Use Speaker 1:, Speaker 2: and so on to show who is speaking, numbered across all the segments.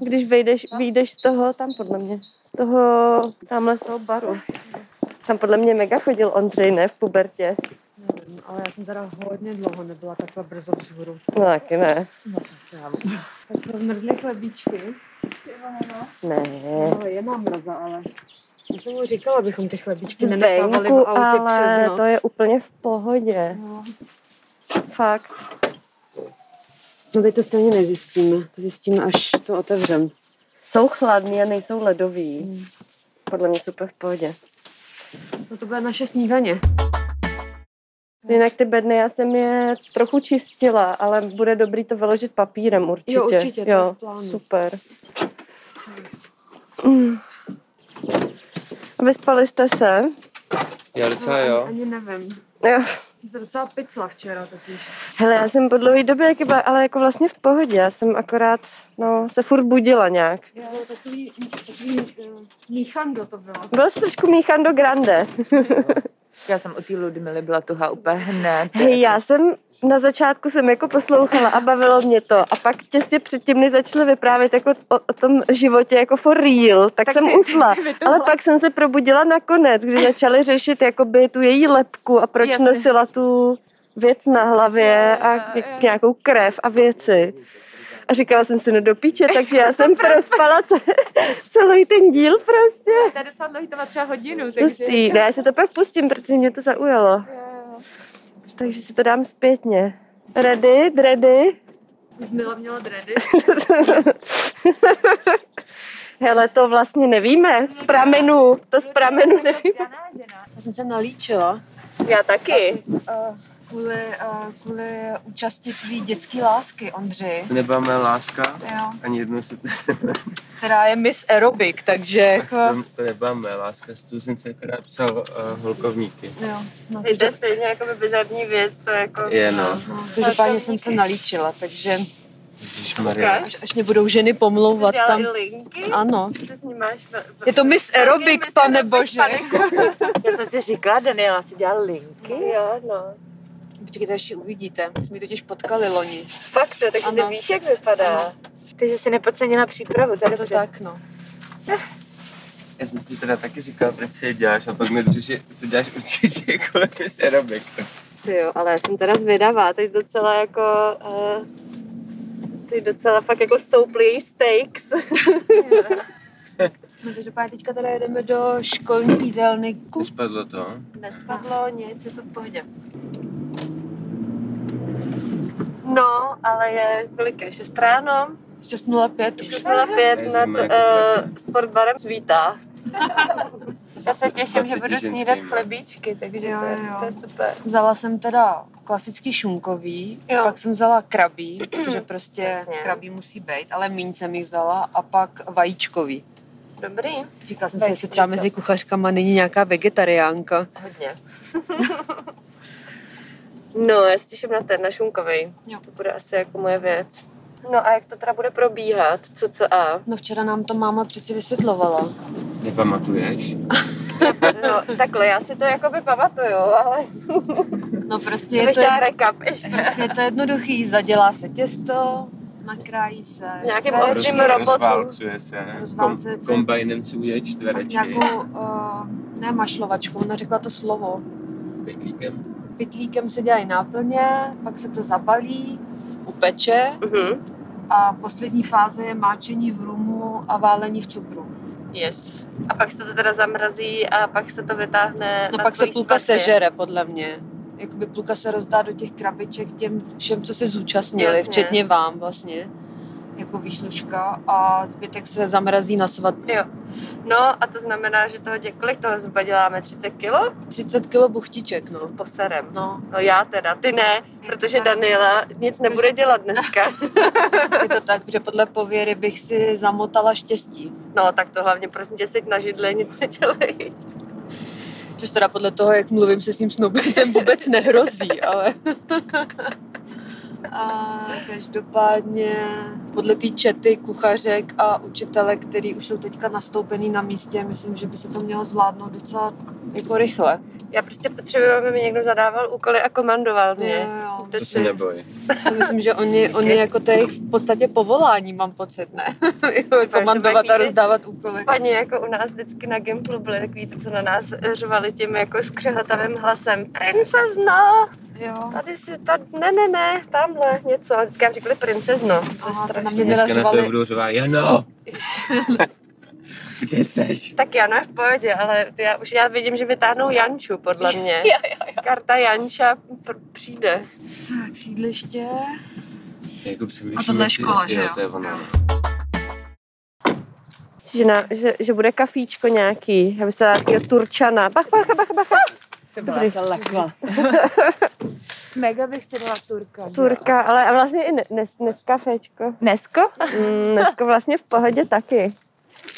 Speaker 1: Když vejdeš, vyjdeš z toho, tam podle mě, z toho, tamhle z toho baru. Tam podle mě mega chodil Ondřej, ne, v pubertě.
Speaker 2: Nevím, ale já jsem teda hodně dlouho nebyla takhle brzo vzhůru.
Speaker 1: No taky ne.
Speaker 2: No, já vím. Tak to zmrzly chlebíčky.
Speaker 1: Ne.
Speaker 2: Ale je mám mraza, ale... Já jsem mu říkala, abychom ty chlebíčky nenechávali v
Speaker 1: Zvenku,
Speaker 2: autě přes
Speaker 1: ale
Speaker 2: noc.
Speaker 1: to je úplně v pohodě.
Speaker 2: No.
Speaker 1: Fakt.
Speaker 2: no teď to stejně nezjistíme. To zjistíme, až to otevřem.
Speaker 1: Jsou chladný a nejsou ledový.
Speaker 2: Hmm.
Speaker 1: Podle mě super v pohodě.
Speaker 2: No to bude naše snídaně.
Speaker 1: Jinak ty bedny, já jsem je trochu čistila, ale bude dobrý to vyložit papírem určitě.
Speaker 2: Jo, určitě, to je
Speaker 1: jo,
Speaker 2: v plánu.
Speaker 1: super. Mm. Vyspali jste se?
Speaker 3: Já docela jo.
Speaker 2: No, Ani nevím.
Speaker 1: Jo.
Speaker 2: Jsem docela picla včera totiž.
Speaker 1: Hele, já jsem po dlouhé době, jak byla, ale jako vlastně v pohodě. Já jsem akorát, no, se furt budila nějak.
Speaker 2: Já to takový, takový uh, míchando to bylo.
Speaker 1: Byl jsi trošku míchan do grande.
Speaker 4: Já jsem u té Ludmily byla tuhá úplně hned.
Speaker 1: Hej, já jsem na začátku jsem jako poslouchala a bavilo mě to. A pak těsně předtím, než začaly vyprávět jako o, o tom životě jako for real, tak, tak
Speaker 4: Tak
Speaker 1: jsem
Speaker 4: si-
Speaker 1: usla.
Speaker 4: vytuhla.
Speaker 1: Ale pak jsem se probudila nakonec, kdy začaly řešit jakoby tu její lepku a proč
Speaker 4: Jasně.
Speaker 1: nosila tu věc na hlavě
Speaker 4: Jo,
Speaker 1: a
Speaker 4: jo,
Speaker 1: ně-
Speaker 4: jo.
Speaker 1: nějakou krev a věci. A říkala jsem si, no do píče, takže já jsem prospala ce- celý ten díl prostě.
Speaker 4: To je docela dlouhý, to má třeba hodinu,
Speaker 1: Hustý. Ne, já se to pak pustím, protože mě to zaujalo. Takže si to dám zpětně. Ready, ready.
Speaker 2: Mila měla dredy.
Speaker 1: Hele, to vlastně nevíme. Z pramenu, to z pramenu nevím.
Speaker 2: Já jsem se nalíčila
Speaker 1: Já taky.
Speaker 2: uh, kvůli, uh, kvůli účasti tvý dětské lásky, Ondřej.
Speaker 3: Nebyla mé láska,
Speaker 2: Jo.
Speaker 3: ani jednou se
Speaker 2: která je Miss Aerobik, takže jako...
Speaker 3: to, to nebyla mé láska, tu jsem se akorát psal uh, holkovníky.
Speaker 2: Jo, no.
Speaker 1: Jde stejně jako by bizarní věc, to je jako...
Speaker 3: Je no,
Speaker 2: Každopádně jsem se nalíčila, takže
Speaker 3: Ježišmarja.
Speaker 2: až, až mě budou ženy pomlouvat tam.
Speaker 1: linky?
Speaker 2: Ano.
Speaker 1: Ty s ní máš...
Speaker 2: Je to Miss Aerobik, pane bože.
Speaker 4: Já jsem si říkala, Daniela si dělala linky.
Speaker 1: Jo, no.
Speaker 2: Počkejte, až ji uvidíte. My jsme ji totiž potkali loni.
Speaker 1: Fakt to, takže
Speaker 2: Ano.
Speaker 1: ty víš, jak vypadá. Takže si nepocenila přípravu,
Speaker 2: Je to tak, no.
Speaker 3: Já jsem si teda taky říkal, proč si je děláš a pak mi přišli, to děláš určitě jako Miss Aerobik.
Speaker 1: Ty jo, ale já jsem teda zvědavá, teď docela jako... Uh, teď docela fakt jako stouply její steaks.
Speaker 2: No každopádně teďka teda jedeme do školní jídelny kus.
Speaker 3: Spadlo to.
Speaker 1: Nespadlo nic, je to v pohodě. No, ale je kolik je? 6 ráno?
Speaker 2: 6.05.
Speaker 1: 6.05 nad
Speaker 3: Zima, jako
Speaker 1: uh, sportbarem svítá.
Speaker 4: Já se těším, že
Speaker 3: 20
Speaker 4: budu
Speaker 3: ženským,
Speaker 4: snídat
Speaker 3: no.
Speaker 4: chlebíčky, takže
Speaker 2: Jo,
Speaker 4: to, je,
Speaker 2: jo.
Speaker 4: to je super.
Speaker 2: Vzala jsem teda klasický šunkový,
Speaker 1: Jo.
Speaker 2: jo. pak jsem vzala krabí, protože prostě
Speaker 1: Jasně.
Speaker 2: krabí musí být, ale míň jsem jich vzala a pak vajíčkový.
Speaker 1: Dobrý?
Speaker 2: Říkala jsem si,
Speaker 1: Vajíčkový
Speaker 2: jestli třeba
Speaker 1: to.
Speaker 2: mezi kuchařkama není nějaká vegetariánka.
Speaker 1: Hodně. no, já se těším na ten, na šunkovej.
Speaker 2: Jo.
Speaker 1: To bude asi jako moje věc. No a jak to teda bude probíhat? Co, co a?
Speaker 2: No včera nám to máma přeci vysvětlovala.
Speaker 3: Nepamatuješ?
Speaker 1: No, takhle, já si to jakoby pamatuju, ale
Speaker 2: No prostě
Speaker 1: je
Speaker 2: je
Speaker 1: bych
Speaker 2: to,
Speaker 1: chtěla recap ještě.
Speaker 2: prostě je to jednoduchý, zadělá se těsto, nakrájí se
Speaker 1: Nějakým
Speaker 2: čtverečky,
Speaker 1: obřím Rozdíl robotu.
Speaker 3: rozválcuje se.
Speaker 2: Rozválcuje se.
Speaker 3: kombajnem si udělej čtverečky.
Speaker 2: nějakou, uh, ne mašlovačkou, ona řekla to slovo.
Speaker 3: Pytlíkem.
Speaker 2: Pitlíkem se dělají náplně, pak se to zabalí, upeče
Speaker 1: Mhm.
Speaker 2: a poslední fáze je máčení v rumu a válení v cukru.
Speaker 1: Yes. A pak se to teda zamrazí a pak se to vytáhne.
Speaker 2: No
Speaker 1: na
Speaker 2: pak se
Speaker 1: tvojí
Speaker 2: půlka
Speaker 1: svatbě.
Speaker 2: sežere, podle mě. Jakoby půlka se rozdá do těch krabiček těm všem, co se zúčastnili,
Speaker 1: Jasně.
Speaker 2: Jasně. včetně vám vlastně, jako výslužka a zbytek se zamrazí na svatbu.
Speaker 1: No a to znamená, že toho dě... kolik toho zhruba děláme? 30 kilo?
Speaker 2: 30 kg buchtiček, no.
Speaker 1: S poserem.
Speaker 2: No,
Speaker 1: No já teda, ty ne, protože Daniela nic nebude dělat dneska.
Speaker 2: je to tak, že podle pověry bych si zamotala štěstí.
Speaker 1: No tak to hlavně prosím tě seď na židle, nic nedělej.
Speaker 2: Což teda podle toho, jak mluvím se s tím snoubencem, vůbec nehrozí, ale... A každopádně
Speaker 5: podle té čety kuchařek a učitelek, který už jsou teďka nastoupený na místě, myslím, že by se to mělo zvládnout docela jako rychle.
Speaker 1: Já prostě potřebuji, aby mi někdo zadával úkoly a komandoval mě.
Speaker 5: Jo, jo.
Speaker 3: To se neboj.
Speaker 5: To myslím, že oni, oni jako to je jejich v podstatě povolání, mám pocit, ne? Jako Komandovat a rozdávat úkoly.
Speaker 1: Paní jako u nás vždycky na Gimplu byly takový, ty, co na nás řvali tím jako skřehotavým hlasem. Princezno,
Speaker 5: Jo.
Speaker 1: tady si, tady, ne, ne, ne, tamhle něco. Vždycky nám říkali princezno. To je
Speaker 5: Aha, to na
Speaker 1: strašný.
Speaker 5: mě
Speaker 3: Dneska na to
Speaker 5: narazovali.
Speaker 3: budou řovat, Jano! Kde seš?
Speaker 1: Tak Jana je v pohodě, ale já už já vidím, že vytáhnou Janču, podle mě. Karta Janča pr- přijde.
Speaker 5: Tak, sídliště.
Speaker 3: Jako přemýšlím,
Speaker 5: A tohle je
Speaker 3: jestli-
Speaker 5: škola, že
Speaker 3: jo?
Speaker 5: jo?
Speaker 3: to je ono.
Speaker 1: Že, na, že, že bude kafíčko nějaký, já bych se dala takového turčana. Bach, bach, bach, bach,
Speaker 4: To
Speaker 1: byla
Speaker 4: byla lakva. Mega bych si dala turka.
Speaker 1: turka, ale a vlastně i ne- nes, neskafečko.
Speaker 4: Dnesko?
Speaker 1: Mm, dneska vlastně v pohodě taky.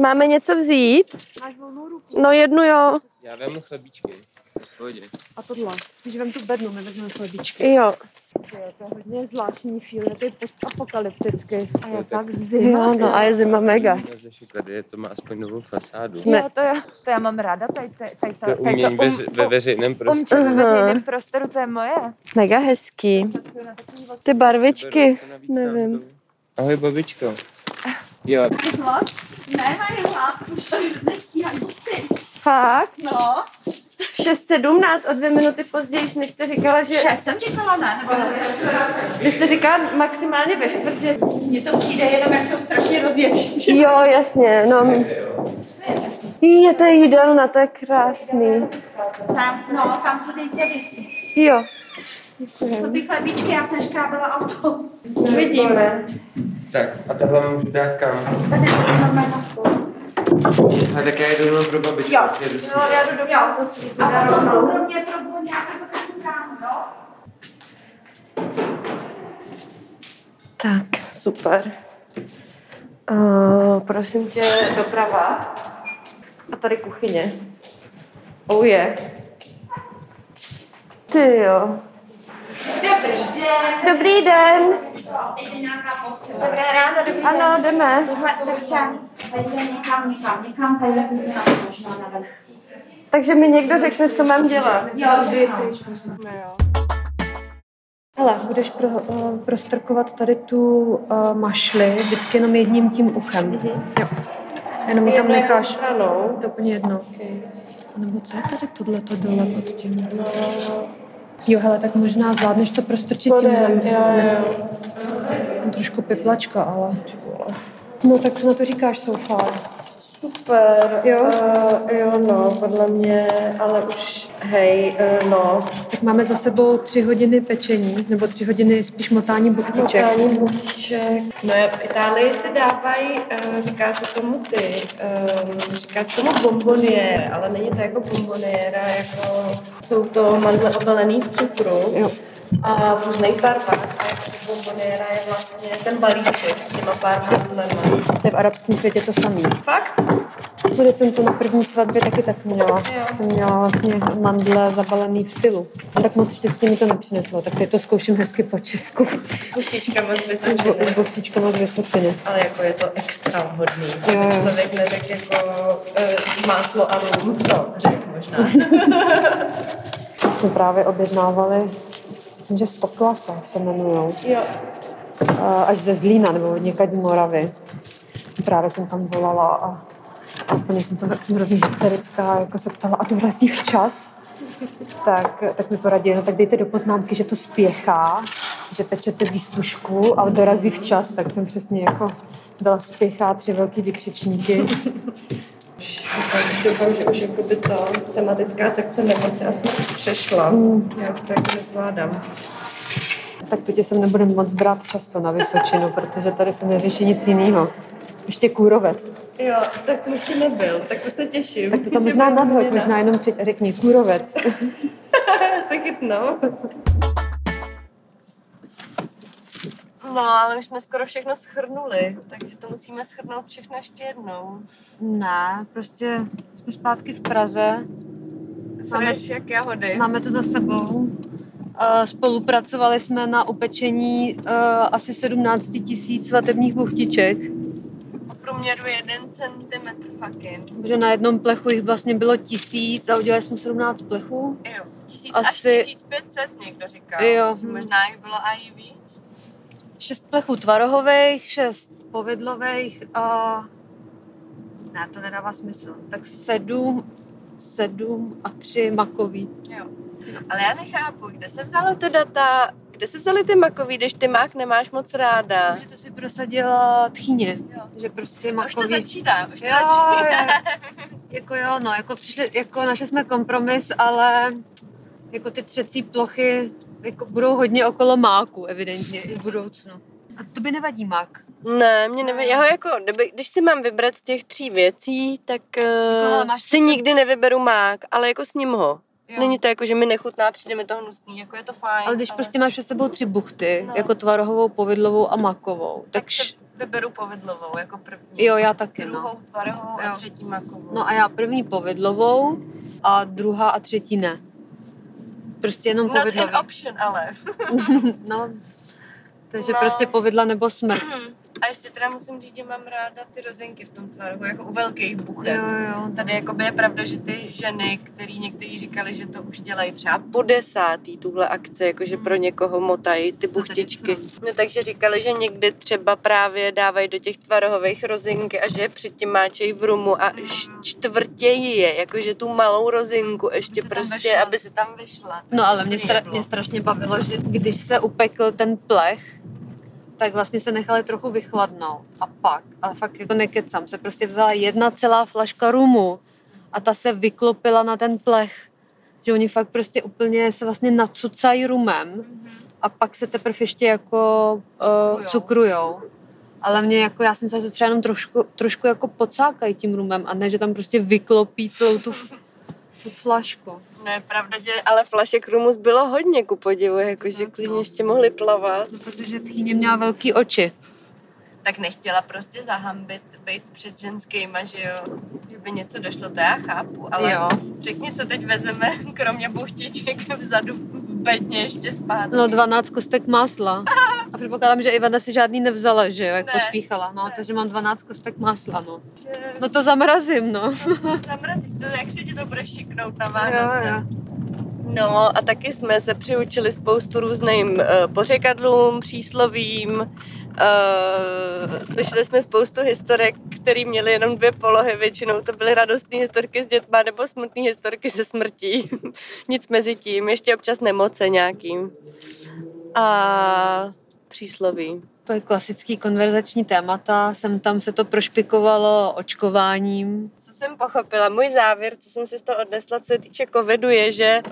Speaker 1: Máme něco vzít?
Speaker 5: Máš volnou ruku
Speaker 1: No jednu jo.
Speaker 3: Já vemu chlebíčky. V pohodě.
Speaker 5: a tohle. Spíš vem tu bednu, nevezmeme chlebíčky.
Speaker 1: Jo.
Speaker 5: To je hodně zvláštní feel, je to je postapokalyptický.
Speaker 3: A je fakt
Speaker 1: Jo, no a je zima mega.
Speaker 3: Tady je, to má aspoň novou fasádu.
Speaker 1: Jsme-
Speaker 4: Jo, to, já, to já mám ráda, tady, tady, tady,
Speaker 3: To je
Speaker 4: tady to
Speaker 1: jako
Speaker 3: umění veře- ve veřejném
Speaker 4: um,
Speaker 3: prostoru.
Speaker 4: ve
Speaker 1: Aha.
Speaker 4: veřejném prostoru, to je moje.
Speaker 1: Mega hezký. Ty barvičky. nevím.
Speaker 3: Ahoj, babičko. Jo,
Speaker 6: Ne, mají hlad, už nestíhají.
Speaker 1: Fakt?
Speaker 6: No,
Speaker 1: 6.17 o dvě minuty později, než jste říkala, že...
Speaker 6: šest jsem čekala, ne? Nebo
Speaker 1: Vy jste říkala maximálně ve čtvrt, že...
Speaker 6: mně to přijde jenom, jak jsou strašně rozjetí.
Speaker 1: Jo, jasně, no. Je to je jídelna, to je krásný.
Speaker 6: Tam, no, tam se dejte věci.
Speaker 1: Jo,
Speaker 6: Co ty chlebíčky, já jsem škrábala auto.
Speaker 1: vidíme.
Speaker 3: tak a tohle můžu dát kam?
Speaker 6: Tady je normálně na stůl.
Speaker 3: A tak já jdu jenom pro babičku.
Speaker 6: Jo.
Speaker 3: ty jdu s ní.
Speaker 2: No,
Speaker 6: já jdu do Jo, a potom pro mě prozvon nějaký takový ráno, jo?
Speaker 1: Tak, super. Uh, prosím tě, doprava. A tady kuchyně. Oh je. Ty jo.
Speaker 6: Dobrý den.
Speaker 1: Dobrý den.
Speaker 6: Co, teď je nějaká posila. Dobré ráno, dobrý
Speaker 1: Ano, jdeme.
Speaker 6: Tohle, tak jsem, tady je někam, někam, někam, tady je někam, možná na vrch.
Speaker 1: Takže mi někdo řekne, co mám dělat.
Speaker 6: Jo, že ano.
Speaker 2: Hele, budeš pro, eh, prostrkovat tady tu uh, mašli vždycky jenom jedním tím uchem.
Speaker 5: Mhm.
Speaker 2: Jo. Jenom ji tam necháš.
Speaker 1: Stranou.
Speaker 2: To je úplně jedno. Nebo co je tady tohleto dole
Speaker 5: Hm.
Speaker 2: pod tím? Jo, hele, tak možná zvládneš to prostrčit tím
Speaker 1: Spodem, jo, jo.
Speaker 2: Trošku piplačka, ale... No tak co na to říkáš so far?
Speaker 1: Super.
Speaker 2: Jo?
Speaker 1: Uh, jo, no, podle mě, ale už, hej, uh, no.
Speaker 2: Tak máme za sebou tři hodiny pečení, nebo tři hodiny spíš motání buchtiček.
Speaker 5: No,
Speaker 1: Totální buchček. No já v Itálii se dávají, eh, říká se tomu ty, ehm, říká se tomu bomboniér, ale není to jako bomboniéra, jako jsou to mandle obalený v cukru
Speaker 2: Jo.
Speaker 1: a v různých barvách. A jako bomboniéra je vlastně ten balíček s těma pár mandlema.
Speaker 2: To je v arabském světě to samý.
Speaker 1: Fakt?
Speaker 2: Bude jsem to na první svatbě taky tak měla. Jo. Jsem měla vlastně mandle zabalený v pilu. A tak moc štěstí mi to nepřineslo, tak teď to zkouším hezky po česku.
Speaker 1: Buchtička moc
Speaker 2: S
Speaker 1: vysačená.
Speaker 2: bo- S bochtičkama z Vysočiny.
Speaker 1: Ale jako je to extra hodný.
Speaker 2: Jo,
Speaker 1: Aby
Speaker 2: jo.
Speaker 1: Člověk neřekl jako eh, máslo a lům, to řekl možná.
Speaker 2: Jsme právě objednávali, myslím, že Stoklasa se jmenujou.
Speaker 1: jo.
Speaker 2: A Až ze Zlína nebo někať z Moravy. Právě jsem tam volala a, a úplně jsem, to, jsem hrozně hysterická, jako se ptala, a dorazí včas? tak, tak mi poradili, no tak dejte do poznámky, že to spěchá, že pečete výstužku, ale dorazí včas, tak jsem přesně jako dala spěchá tři velký vykřičníky.
Speaker 1: Doufám, že už jako by co, tematická sekce nemoci a smrt přešla. Mm. Já už to jako nezvládám.
Speaker 2: tak to tě sem nebudem moc brát často na Vysočinu, protože tady se neřeší nic jiného. Ještě kůrovec.
Speaker 1: Jo, tak musí nebyl, tak to se těším.
Speaker 2: Tak to tam
Speaker 1: že prostě
Speaker 2: možná
Speaker 1: bude
Speaker 2: nadhoď,
Speaker 1: změna.
Speaker 2: možná jenom při- řekni kůrovec.
Speaker 1: se chytnou. No, ale my jsme skoro všechno schrnuli, takže to musíme schrnout všechno ještě jednou.
Speaker 5: Ne, prostě jsme zpátky v Praze.
Speaker 1: Fresh jak jahody.
Speaker 2: No.
Speaker 5: Máme to za sebou.
Speaker 2: Eh, Spolupracovali jsme na upečení eh, asi 17 tisíc svatebních buchtiček,
Speaker 1: O průměru 1 cm fucking.
Speaker 2: protože na jednom plechu jich vlastně bylo tisíc a udělali jsme 17 plechů.
Speaker 1: Jo, 1000
Speaker 2: Asi-
Speaker 1: až 1500 někdo říkal.
Speaker 2: Jo.
Speaker 1: Možná jich bylo i víc.
Speaker 2: Šest plechů tvarohových, šest povidlových a... Ne, to nedává smysl. Tak sedm, sedm a tři makový.
Speaker 1: Jo. Ale já nechápu, kde se vzala ta data, kde se vzaly ty makový, když ty mák nemáš moc ráda.
Speaker 2: Že to si prosadila tchyně,
Speaker 1: Jo.
Speaker 2: že prostě
Speaker 1: Už to
Speaker 2: makový...
Speaker 1: začíná, už to
Speaker 2: Jo,
Speaker 1: začíná.
Speaker 2: jo. jako jo, no, jako, přišli, jako našli jsme kompromis, ale jako ty třecí plochy jako budou hodně okolo máku, evidentně, i v budoucnu. A to by nevadí mák.
Speaker 1: Ne, mě nevím, já ho jako, kdyby, když si mám vybrat z těch tří věcí, tak
Speaker 2: hele,
Speaker 1: uh,
Speaker 2: máš
Speaker 1: si nikdy nevyberu mák, ale jako s ním ho.
Speaker 2: Jo.
Speaker 1: Není to jako, že mi nechutná, přijde mi to hnusný, jako je to fajn.
Speaker 2: Ale když prostě máš před sebou tři buchty,
Speaker 1: No.
Speaker 2: jako tvarohovou, povidlovou a makovou, tak,
Speaker 1: tak si vyberu povedlovou jako první.
Speaker 2: jo, já taky, no.
Speaker 1: Druhou tvarohou a
Speaker 2: Jo.
Speaker 1: třetí makovou.
Speaker 2: No a já první povidlovou a druhá a třetí ne. Prostě jenom
Speaker 1: Not
Speaker 2: povidlový.
Speaker 1: an option, ale.
Speaker 2: No, takže
Speaker 1: No.
Speaker 2: prostě povidla nebo smrt.
Speaker 1: A ještě teda musím říct, že mám ráda ty rozinky v tom tvarohu, jako u velkých buchet.
Speaker 2: Jo, jo.
Speaker 1: Tady jakoby je pravda, že ty ženy, který někteří říkali, že to už dělají třeba po desátý tuhle akci, jakože
Speaker 2: Mm.
Speaker 1: pro někoho motají ty buchtičky. No takže říkali, že někdy třeba právě dávají do těch tvarohových rozinky a že je předtím máčejí v rumu
Speaker 2: Mm.
Speaker 1: a š- čtvrtějí je, jakože tu malou rozinku ještě
Speaker 2: se tam
Speaker 1: prostě,
Speaker 2: vešla.
Speaker 1: aby se tam vešla.
Speaker 2: No ale mě,
Speaker 1: Dobrý
Speaker 2: stra-
Speaker 1: jeblo.
Speaker 2: mě strašně bavilo, že když se upekl ten plech, tak vlastně se nechali trochu vychladnout. A pak, ale fakt jako nekecám, se prostě vzala jedna celá flaška rumu a ta se vyklopila na ten plech. Že oni fakt prostě úplně se vlastně nacucají rumem a pak se teprve ještě jako uh,
Speaker 1: Cukrujou.
Speaker 2: cukrujou. Ale mě jako, já jsem se to třeba jenom trošku, trošku jako pocákají tím rumem a ne, že tam prostě vyklopí celou tu, f- tu flašku.
Speaker 1: No je pravda, že ale flašek rumu bylo hodně ku podivu, jakože
Speaker 2: tak,
Speaker 1: klidně
Speaker 2: no.
Speaker 1: ještě mohli plavat.
Speaker 2: No, protože tchýně měla velký oči.
Speaker 1: tak nechtěla prostě zahambit, být před ženskýma, že jo, kdyby něco došlo, to já chápu, ale jo.
Speaker 2: jo.
Speaker 1: řekni, co teď vezeme, kromě buchtiček vzadu v bedně ještě zpátky.
Speaker 2: No 12 kostek másla. A předpokládám, že Ivana si žádný nevzala, že jo, jak
Speaker 1: Ne.
Speaker 2: pospíchala. No,
Speaker 1: Ne.
Speaker 2: takže mám 12 kostek másla, no.
Speaker 1: Že
Speaker 2: No to zamrazím, no.
Speaker 1: Zamrazíš to, jak se ti to bude šiknout na
Speaker 2: Jo,
Speaker 1: Vánoce.
Speaker 2: jo.
Speaker 1: No a taky jsme se přiučili spoustu různým eh, pořekadlům, příslovím. eh, Slyšeli jsme spoustu historek, které měly jenom dvě polohy. Většinou to byly radostné historky s dětma nebo smutné historky se smrtí. Nic mezi tím, ještě občas nemoce nějakým. A přísloví.
Speaker 2: To je klasický konverzační témata. Sem tam se to prošpikovalo očkováním.
Speaker 1: Co jsem pochopila, můj závěr, co jsem si z toho odnesla, co se týče covidu, je, že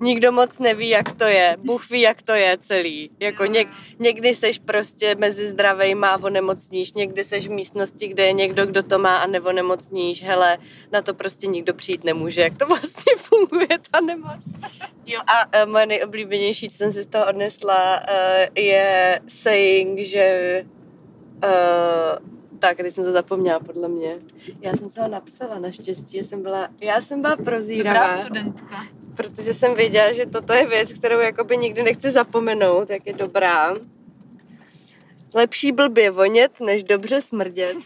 Speaker 1: nikdo moc neví, jak to je. Bůh ví, jak to je celý. Jako něk, Někdy seš prostě mezi zdravejma a onemocníš, někdy seš v místnosti, kde je někdo, kdo to má a neonemocníš. Hele, na to prostě nikdo přijít nemůže, jak to vlastně funguje ta nemoc. Jo a uh, moje nejoblíbenější, co jsem si z toho odnesla, uh, je saying, že... Uh, tak, a teď jsem to zapomněla, podle mě. Já jsem se ho napsala, naštěstí. Jsem byla, já jsem byla prozíravá
Speaker 2: Dobrá studentka.
Speaker 1: protože jsem věděla, že toto je věc, kterou jakoby nikdy nechci zapomenout, jak je dobrá. Lepší blbě vonět, než dobře smrdět.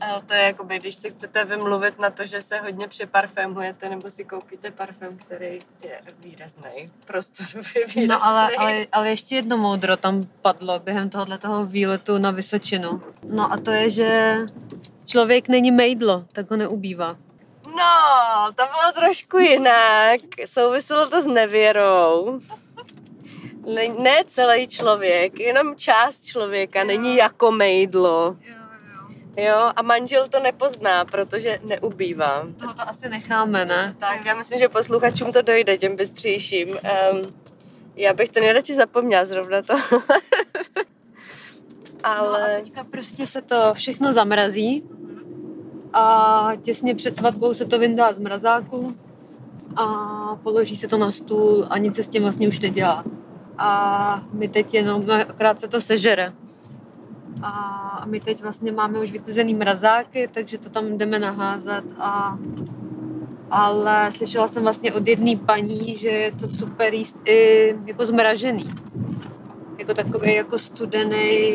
Speaker 1: Ale to je jakoby, když se chcete vymluvit na to, že se hodně přeparfémujete, nebo si koupíte parfém, který je výrazný, prostorově výrazný.
Speaker 2: No ale, ale, ale ještě jedno moudro tam padlo během tohohle toho výletu na Vysočinu. No a to je, že člověk není mejdlo, tak ho neubývá.
Speaker 1: No, to bylo trošku jinak. Souviselo to s nevěrou. Ne, ne celý člověk, jenom část člověka není jako mejdlo.
Speaker 2: Jo, jo.
Speaker 1: Jo, a manžel to nepozná, protože neubývá.
Speaker 2: Toho to asi necháme, ne?
Speaker 1: Tak, já myslím, že posluchačům to dojde, těm bystřejším. Um, já bych to nejradši zapomněla zrovna to.
Speaker 2: No a
Speaker 1: Ale
Speaker 2: No, teďka prostě se to všechno zamrazí a těsně před svatbou se to vyndá z mrazáku a položí se to na stůl a nic se s tím vlastně už nedělá. A my teď jenom, no, akorát se to sežere. A my teď vlastně máme už vyklizený mrazáky, takže to tam jdeme naházet a ale slyšela jsem vlastně od jedné paní, že je to super jíst i jako zmražený. Jako takový jako studený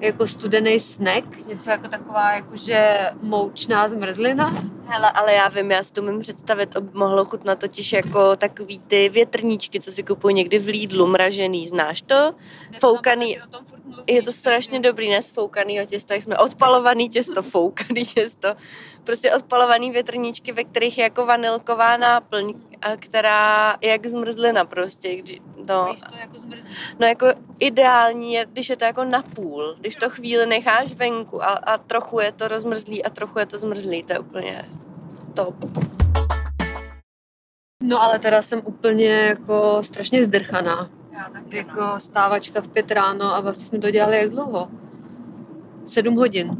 Speaker 2: jako studený snack, něco jako taková jakože moučná zmrzlina.
Speaker 1: Hele, ale já vím, já si to umím představit, ob- mohlo chutnat totiž jako takový ty větrníčky, co si kupují někdy v Lidlu, mražený, znáš to? Foukaný,
Speaker 2: O tom furt mluvíš,
Speaker 1: je to strašně
Speaker 2: takže-
Speaker 1: dobrý, ne z foukanýho těsta, jak jsme odpalovaný těsto, foukaný těsto, prostě odpalovaný větrníčky, ve kterých je jako vanilková náplň, a která je jak zmrzlina prostě, kdy, no,
Speaker 2: Víš, to jako zmrzlina.
Speaker 1: no jako ideální je, když je to jako napůl, když to chvíli necháš venku a, a trochu je to rozmrzlý a trochu je to zmrzlý, to je úplně top.
Speaker 2: No ale teda jsem úplně jako strašně zdrchaná.
Speaker 1: Já taky, no.
Speaker 2: Jako stávačka v pět ráno a vlastně jsme to dělali jak dlouho? Sedm hodin.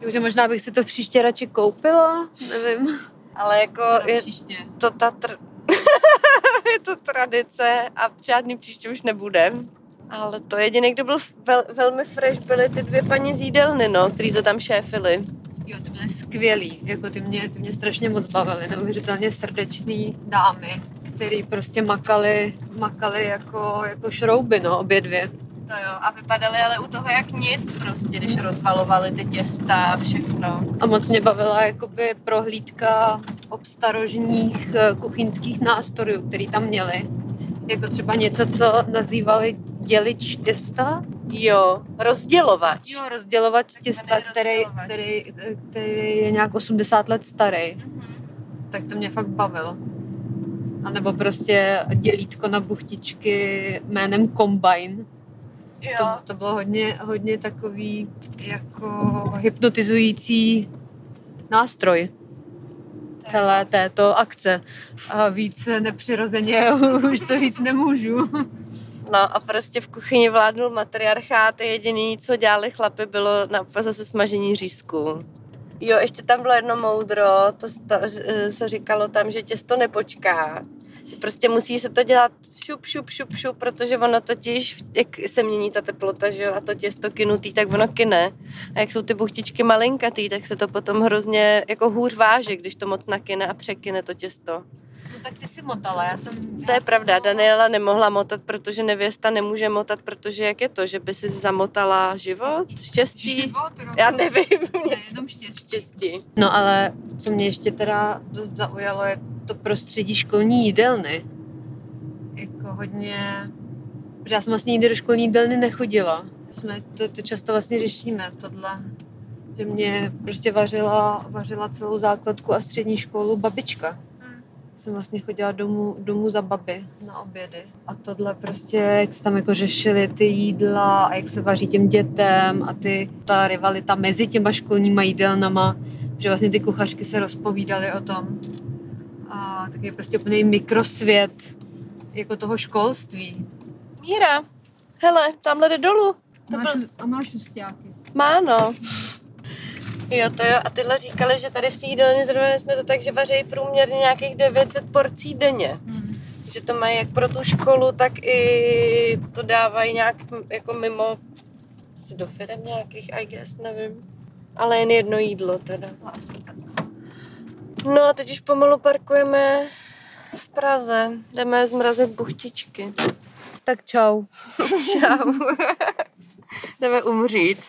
Speaker 2: Takže možná bych si to příště radši koupila, nevím.
Speaker 1: Ale jako
Speaker 2: Je...
Speaker 1: je
Speaker 2: Příště.
Speaker 1: to ta tr... je to tradice a žádný příště už nebude. Ale to jediný, kdo byl vel, velmi fresh, byly ty dvě paní z jídelny, no, který to tam šéfili.
Speaker 2: Jo, ty byly skvělý, jako ty mě, ty mě strašně moc bavily, neuvěřitelně srdeční dámy, který prostě makali, makali jako, jako šrouby, no, obě dvě.
Speaker 1: To jo, a vypadaly ale u toho jak nic prostě, když rozvalovali ty těsta a všechno.
Speaker 2: A moc mě bavila jakoby prohlídka obstarožních eh, kuchyňských nástrojů, který tam měli. Jako třeba něco, co nazývali dělič těsta.
Speaker 1: Jo, rozdělovač.
Speaker 2: Jo, rozdělovač
Speaker 1: Taky
Speaker 2: těsta,
Speaker 1: tady
Speaker 2: který,
Speaker 1: rozdělovač.
Speaker 2: který, eh, který je nějak 80 let starý.
Speaker 1: Mhm.
Speaker 2: Tak to mě fakt bavilo. A nebo prostě dělítko na buchtičky jménem Combine. To,
Speaker 1: Jo,
Speaker 2: to bylo hodně, hodně takový jako hypnotizující nástroj celé této akce. A víc nepřirozeně už to říct nemůžu.
Speaker 1: no a prostě v kuchyni vládnul matriarchát a jediný, co dělali chlapy, bylo na, zase smažení řízku. Jo, ještě tam bylo jedno moudro, to, s- to eh, se říkalo tam, že těsto nepočká. Prostě musí se to dělat šup, šup, šup, šup, protože ono totiž, jak se mění ta teplota, že jo, a to těsto kynutý, tak ono kyne. A jak jsou ty buchtičky malinkatý, tak se to potom hrozně jako hůř váže, když to moc nakyne a překyne to těsto.
Speaker 2: No tak ty si motala, já jsem...
Speaker 1: To je
Speaker 2: já jsem-
Speaker 1: pravda, Daniela nemohla motat, protože nevěsta nemůže motat, protože jak je to, že by si zamotala život, štěstí,
Speaker 2: Život, roku.
Speaker 1: já nevím,
Speaker 2: Ne,
Speaker 1: nic.
Speaker 2: jenom štěstí.
Speaker 1: Štěstí.
Speaker 2: No ale co mě ještě teda dost zaujalo, je to prostředí školní jídelny. Jako hodně... Protože já jsem vlastně nikdy do školní jídelny nechodila. Jsme to, to často vlastně řešíme, tohle. Že mě prostě vařila, vařila celou základku a střední školu babička. Jsem vlastně chodila domů, domů za baby na obědy. A tohle prostě, jak se tam jako řešili ty jídla a jak se vaří těm dětem a ty, ta rivalita mezi těma školníma jídelnama že vlastně ty kuchařky se rozpovídaly o tom. A taky prostě úplný mikrosvět jako toho školství.
Speaker 1: Míra, hele, tamhle jde dolů. To
Speaker 2: máš,
Speaker 1: byl,
Speaker 2: A máš ustáky.
Speaker 1: má, no. Jo, to jo, a tyhle říkali, že tady v té jídelně zrovna jsme to tak, že vaří průměrně nějakých 900 porcí denně.
Speaker 2: Hmm.
Speaker 1: Že to mají jak pro tu školu, tak i to dávají nějak m- jako mimo asi do firem nějakých, I guess, nevím. Ale jen jedno jídlo teda. No a teď už pomalu parkujeme v Praze. Jdeme zmrazit buchtičky.
Speaker 2: Tak čau.
Speaker 1: Čau. Jdeme umřít.